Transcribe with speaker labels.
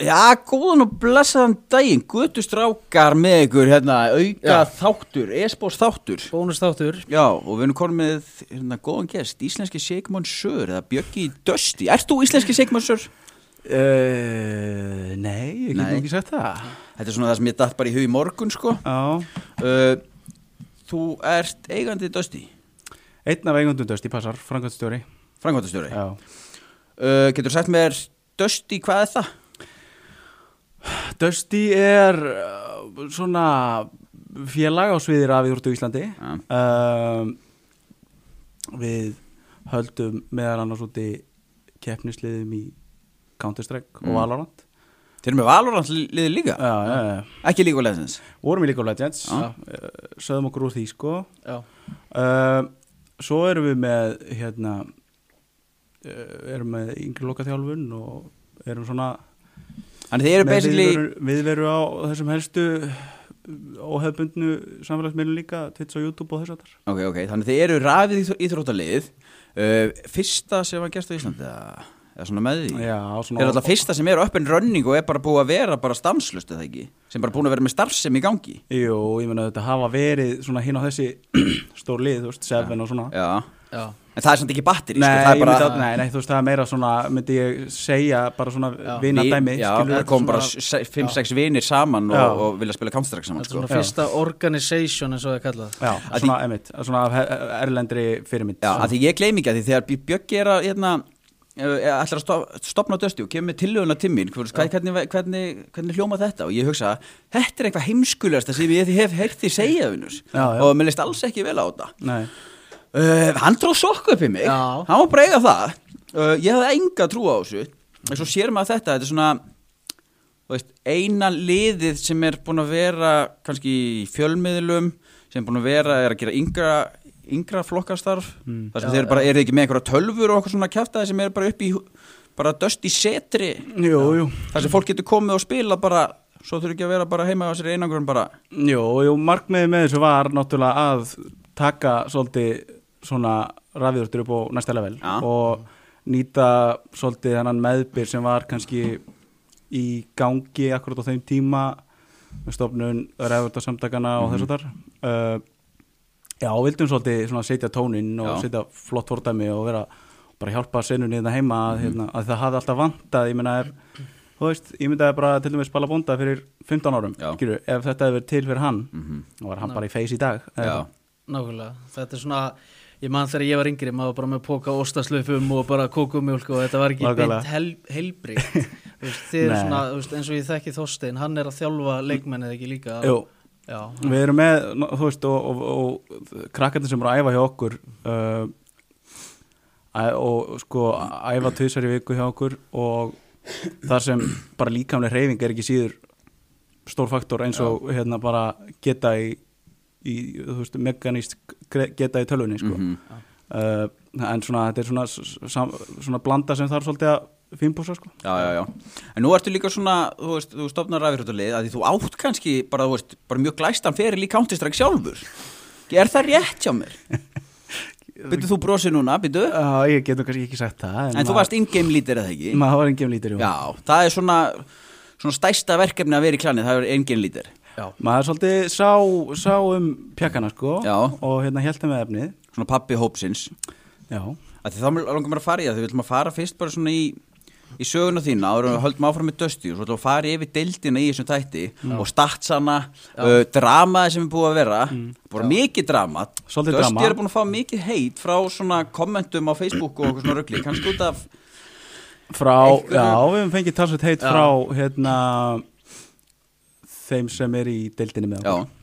Speaker 1: Já, góðan og blessaðan daginn, gutu strákar með ykkur, hérna, auka
Speaker 2: Já.
Speaker 1: þáttur, espós þáttur.
Speaker 2: Bónustáttur
Speaker 1: Já, og við erum komin með, hérna, góðan gest, íslenski Sigmund Sör, eða Bjöggi Dösti. Ert þú íslenski Sigmund Sör?
Speaker 3: Uh, nei, ég get
Speaker 1: Nei.
Speaker 3: nú ekki sagt það
Speaker 1: Þetta er svona það sem ég datt bara í hug í morgun, sko.
Speaker 3: Já,
Speaker 1: Uh, þú ert eigandi Dösti,
Speaker 3: einn af eigundum Dusty Passar, frangatstjóri
Speaker 1: frangvandastjóri.
Speaker 3: Já,
Speaker 1: Uh, getur sagt mér, Dösti, hvað er það?
Speaker 3: Dusty er uh, svona félag á sviði rafiðurtu í Íslandi
Speaker 1: Já.
Speaker 3: um, Við höldum meðal annars úti keppnisliðum í Counter-Strike
Speaker 1: Mm.
Speaker 3: og Valorant
Speaker 1: Þeir eru með Valorant liði líka,
Speaker 3: Já, já, já,
Speaker 1: ekki líka leðsins.
Speaker 3: vorum í League of Legends
Speaker 1: Já.
Speaker 3: uh, Sögðum okkur úr því sko
Speaker 2: Já,
Speaker 3: uh, Svo erum við með hérna uh, erum með yngri lokaþjálfun og erum svona
Speaker 1: Þannig þeir eru
Speaker 3: með
Speaker 1: basically...
Speaker 3: viðveru- viðveru á þessum helstu óhefbundnu samfélagsmiðlum líka Twitch og YouTube og þess að þar
Speaker 1: Ok, ok, þannig þið eru rafið íþró- íþróttalið uh, Fyrsta sem var gert á Íslandi eða, eða svona með því
Speaker 3: Já,
Speaker 1: Þeir eru alltaf fyrsta sem er upp en running og er bara búið að vera bara stanslust eða ekki sem bara búin að vera með starfsem í gangi
Speaker 3: Jú, ég meina þetta hafa verið svona hinn á þessi stór lið, þú veist, Seven og svona
Speaker 1: Já,
Speaker 2: já,
Speaker 1: en það er samt ekki batteri
Speaker 3: Nei,
Speaker 1: sko, það
Speaker 3: ég
Speaker 1: er bara
Speaker 3: myndi að, nei, nei, þú veist, það er meira svona, myndi ég segja, bara svona
Speaker 2: Já.
Speaker 3: vinadæmi
Speaker 1: Já,
Speaker 3: skilurðu?
Speaker 1: það kom bara
Speaker 2: svona-
Speaker 1: 5-6 vinir saman
Speaker 3: Já.
Speaker 1: og, og vilja spila Counter-Strike
Speaker 2: þetta
Speaker 1: saman
Speaker 2: er svona
Speaker 1: sko.
Speaker 2: fyrsta organization eins og það er kallað
Speaker 3: Já,
Speaker 1: Að
Speaker 3: svona, emitt, svona af he- erlendri fyrirmynd
Speaker 1: Já, að því ég gleym ekki að því þegar Bj- Bjöggi er að hérna, eh, ætlar að stof- stofna dösti og kemur með tillöguna til mín hvers, hvernig, hvernig, hvernig hljóma þetta og ég hugsa þetta er eitthvað heimskulegasta sem ég hef heyrt því segja vinnus
Speaker 3: Já, já.
Speaker 1: og mér leist alls ekki vel á þetta
Speaker 3: Nei,
Speaker 1: uh, hann tróð sokku upp í mig
Speaker 2: Já.
Speaker 1: hann var breyga það uh, ég hafði enga trú á þessu en svo sér maður þetta, þetta er svona þú veist, eina liðið sem er búin að vera kannski í fjölmiðlum sem er búin að vera, er að gera yngra yngra flokkastarf þar sem
Speaker 2: Hmm. Já,
Speaker 1: þeir bara, eru ekki með einhverja tölfur og okkur svona kjaftaði sem er bara upp í bara döst í setri
Speaker 3: jú, jú
Speaker 1: þar sem fólk getur komið og spila bara svo þurfi ekki að vera bara heima á sér einangur en bara
Speaker 3: Jú, jú, markmiðið með þessu var náttúrulega að taka svolítið svona rafiðurtur upp á næsta level
Speaker 1: Já.
Speaker 3: og nýta svolítið hennan meðbyr sem var kannski í gangi akkurat á þeim tíma með stofnun rafiðurtarsamtakana og
Speaker 1: Mhm.
Speaker 3: þess og þar uh, Já, vildum svolítið svona setja tóninn og
Speaker 1: Já.
Speaker 3: setja flott fordæmi og vera bara hjálpa senunni þetta heima að,
Speaker 1: Mhm.
Speaker 3: hérna, að það hafði alltaf vantað, ég meina er þú veist, ég myndaði bara til dæmis Balla Bonda fyrir 15 árum,
Speaker 1: Já. Mhm.
Speaker 3: skilur, ef þetta hefði verið til fyrir hann, þá var hann bara í face í dag
Speaker 1: já,
Speaker 3: eða eitthvað.
Speaker 2: Nákvæmlega, þetta er svona Ég man þegar ég var yngri, maður var bara með póka ostaslöfum og bara kókumjólk og þetta var ekki
Speaker 3: Nákvæmlega.
Speaker 2: beint hel, heilbríkt Þú veist, Þið er
Speaker 3: Nei.
Speaker 2: svona, þú veist, eins og ég þekki Þorstein, hann er að þjálfa leikmennið ekki líka
Speaker 3: Jú,
Speaker 2: Já,
Speaker 3: við erum með, ná- þú veist, og, og, og krakkarnir sem eru að æfa hjá okkur uh, æ- og sko æfa tvisar í viku hjá okkur og þar sem bara líkamlega reyfing er ekki síður stór faktor eins og hérna bara geta í, í þú veist, meganist geta í tölvunni, sko
Speaker 1: mhm.
Speaker 3: uh, en svona þetta er svona, s- sam, svona blanda sem þarf svolítið að finnbúsa sko.
Speaker 1: Já, já, já. En nú ertu líka svona, þú veist, þú stopnar rafirhjóttalið að því þú átt kannski bara, þú veist, bara mjög glæstan feril í Counter-Strike sjálfur. Er það rétt hjá mér? Byttu þú brosið núna, byttu?
Speaker 3: uh, ég getum kannski ekki sagt það
Speaker 1: En þú varst in-game lítir eða ekki?
Speaker 3: maður var engem lítur jú.
Speaker 1: Já, það er svona, svona stæsta verkefni að vera í klanið, það er in-game lítir.
Speaker 2: já,
Speaker 3: maður svolítið sá, sá um pjakkana sko,
Speaker 1: Já.
Speaker 3: og hérna heldur með efnið
Speaker 1: Svona pappi hópsins.
Speaker 3: já,
Speaker 1: Að því þá mig- langar mér að fara í það, því við ætlum að fara fyrst bara svona í, í söguna þína, áður en við höldum áfram með Dusty og svo ætlum við að fara yfir deildina í þessum tætti og statsana, uh, dramaði sem er búið að vera, bara mikið drama.
Speaker 3: Svolítið
Speaker 1: Dusty
Speaker 3: drama.
Speaker 1: er búin að fá mikið heit frá svona kommentum á Facebook og okkur svona rugli, kannski út af,
Speaker 3: frá,
Speaker 1: Einhverju-
Speaker 3: já við höfum fengið talsveit heit
Speaker 2: Já.
Speaker 3: frá hérna þeim sem er í deildinni með
Speaker 1: já,
Speaker 3: okkur